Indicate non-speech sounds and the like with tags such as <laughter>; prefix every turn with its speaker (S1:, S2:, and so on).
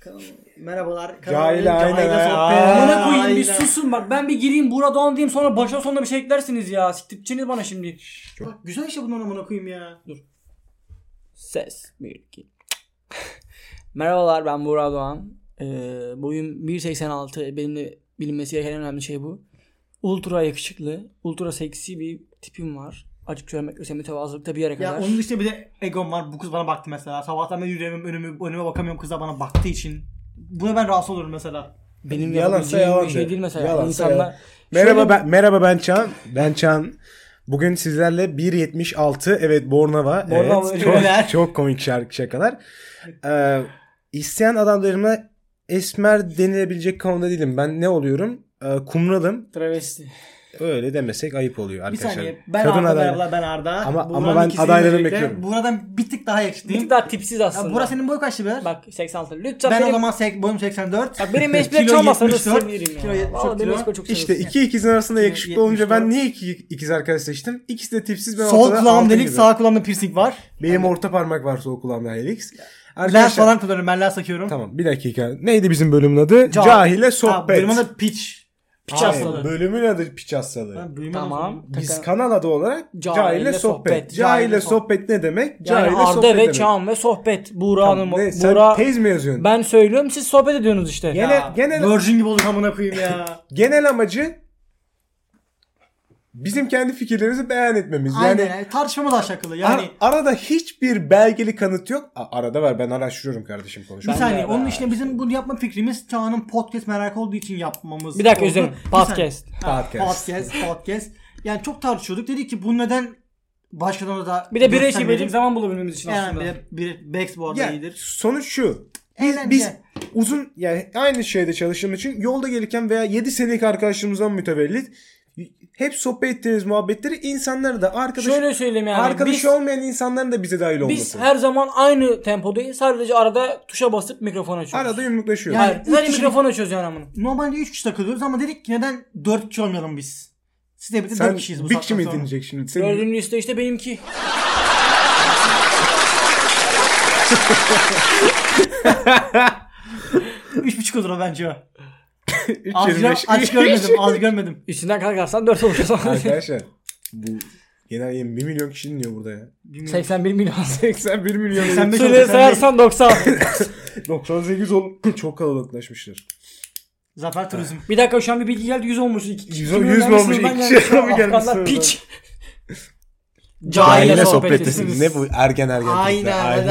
S1: Kanal- Merhabalar.
S2: Cahil aynen ha.
S3: Amına koyayım bir
S1: Aynen.
S3: susun bak ben bir gireyim buradan diyeyim sonra başa sonuna bir şey eklersiniz ya. Siktirtçiniz bana şimdi. Bak güzel işte bunlar amına koyayım ya. Dur. Ses. Bir, iki. <laughs> Merhabalar ben Burak Doğan. Ee, boyum 1.86. Benimle bilinmesi gereken en önemli şey bu. Ultra yakışıklı, ultra seksi bir tipim var. Açık söylemek ve mütevazılıkta bir yere kadar.
S1: Ya onun dışında bir de egom var. Bu kız bana baktı mesela. Sabahtan beri yürüyemem önüme, önüme bakamıyorum kızlar bana baktığı için. Buna ben rahatsız olurum mesela.
S3: Benim
S2: Yalansa
S3: yapabileceğim
S2: yalan
S3: bir şey
S2: de.
S3: değil mesela.
S2: Yalansa
S3: İnsanlar
S2: yalan. Merhaba
S3: Şöyle-
S2: ben merhaba ben Çağan. Ben Çağan. Bugün sizlerle 1.76 evet Bornova.
S3: Bornova,
S2: evet,
S3: öyleler.
S2: çok, <laughs> çok komik şarkı şakalar. Ee, isteyen adamlarıma esmer denilebilecek konuda değilim. Ben ne oluyorum? Ee, kumralım.
S3: Travesti.
S2: Öyle demesek ayıp oluyor
S1: Bir
S2: arkadaşlar.
S1: saniye. Ben
S2: Kadın
S1: Arda
S2: aday-
S1: merhabalar ben Arda.
S2: Ama- ama
S1: Buğra'nın
S2: ben
S1: ikisini
S2: adaylarını
S1: birlikte.
S2: bekliyorum.
S1: Buğra'dan bir tık daha yakışıklıyım.
S3: Bir tık daha tipsiz aslında.
S1: Ya Buğra senin boy kaçtı be?
S3: Bak 86. Lütfen
S1: ben
S3: benim,
S1: o zaman sek, boyum 84.
S3: Bak
S1: <laughs>
S3: benim
S1: Kilo
S3: mecburiyet çalmasanız
S1: 74,
S3: sevinirim ya.
S1: kilo 74,
S3: Vallahi benim
S1: kilo.
S3: mecburiyet çok
S2: İşte
S3: sevinirim.
S2: iki ikizin arasında yakışıklı olunca
S1: 74.
S2: ben niye iki ikiz arkadaş seçtim? İkisi de tipsiz ben
S1: Sol
S2: ortada altı
S1: kulağım delik,
S2: gibi.
S1: sağ kulağımda piercing var.
S2: Benim orta parmak var sol kulağımda helix.
S1: Lens falan kullanıyorum. Ben lens takıyorum.
S2: Tamam bir dakika. Neydi bizim bölümün adı?
S1: Cahil.
S2: Cahile
S1: Ha,
S2: sohbet.
S1: Benim adı pitch.
S3: Piç
S2: Hayır,
S3: hastalığı.
S2: Bölümün adı piç hastalığı.
S1: Ben bölümün adı
S3: Tamam.
S2: Biz
S3: Taka-
S2: kanal adı olarak
S3: Cahille
S2: Cahile, sohbet.
S3: sohbet.
S2: Cahile,
S3: Cahille
S2: sohbet ne demek?
S3: yani
S2: Cahile
S3: Arda
S2: sohbet
S3: ve
S2: demek.
S3: Çağan ve sohbet. Buğra
S2: Tamam,
S3: Hanım.
S2: ne, sen
S3: Buğra,
S2: tez mi yazıyorsun?
S3: ben söylüyorum siz sohbet ediyorsunuz işte.
S2: Gene-
S1: Ya,
S2: genel-
S1: Virgin gibi olduk amına koyayım ya.
S2: Genel amacı bizim kendi fikirlerimizi beyan etmemiz.
S1: Aynen.
S2: yani
S1: Yani, tartışmamız aşağılı. Yani
S2: ar- arada hiçbir belgeli kanıt yok. A- arada var ben araştırıyorum kardeşim
S1: bir
S2: konuşuyorum.
S1: saniye.
S3: de-
S1: Onun için bizim bunu yapma fikrimiz Çağan'ın podcast merakı olduğu için yapmamız.
S3: Bir dakika
S1: oldu.
S3: özür dilerim.
S1: Bir saniye.
S3: Podcast.
S1: Ha,
S2: Podcast.
S1: Podcast. Podcast. Yani çok tartışıyorduk. Dedik ki bu neden başkalarına da
S3: Bir de bire şey
S1: göstermeyelim?
S3: verecek zaman bulabilmemiz için
S1: Yani
S3: aslında.
S1: bir de bir Bex bu arada
S2: Yani
S1: iyidir.
S2: sonuç şu.
S1: Eğlence.
S2: Biz uzun yani aynı şeyde çalıştığım için yolda gelirken veya 7 senelik arkadaşlarımızdan mütevellit hep sohbet ettiğimiz muhabbetleri insanlara da arkadaş
S3: Şöyle söyleyeyim yani.
S2: arkadaş
S3: biz,
S2: olmayan insanların da bize dahil olması.
S3: biz her zaman aynı tempodayız. Sadece arada tuşa basıp mikrofon açıyoruz.
S2: Arada yumruklaşıyoruz.
S1: Yani-
S3: Hayır, sadece
S1: Üç kişi-
S3: mikrofon açıyoruz yani amına.
S1: Normalde 3 kişi takılıyoruz ama dedik ki neden 4 kişi olmayalım biz? Siz de bir de 4
S2: Sen
S1: kişiyiz bu
S2: bir kişi mi
S1: saatten sonra.
S2: dinleyecek şimdi? Senin-
S3: Gördüğün liste işte benimki.
S1: Üç buçuk olur o bence o.
S2: Üç
S1: Az, <laughs>
S2: yirmi beş.
S1: gö- az görmedim, az görmedim.
S3: Üstünden kalkarsan 4 olur.
S2: <laughs>
S3: <laughs>
S2: Arkadaşlar bu genel yayın 1 milyon kişi dinliyor burada ya. <laughs>
S3: 81 milyon.
S2: 81 milyon.
S1: Sen- 85
S3: Süreyi
S1: oldu,
S3: sayarsan 90.
S2: <laughs> 98 olup çok kalabalıklaşmıştır.
S1: Zafer Turizm.
S3: bir dakika şu an bir bilgi geldi 100 olmuş. 100,
S2: 100 olmuş, iki kişi mi gelmiş
S3: Afganlar
S2: sınıftan?
S3: piç.
S2: Aile
S3: Cahile sohbet etsin.
S2: Ne bu ergen ergen. tipler.
S1: Aynen,
S2: Aynen.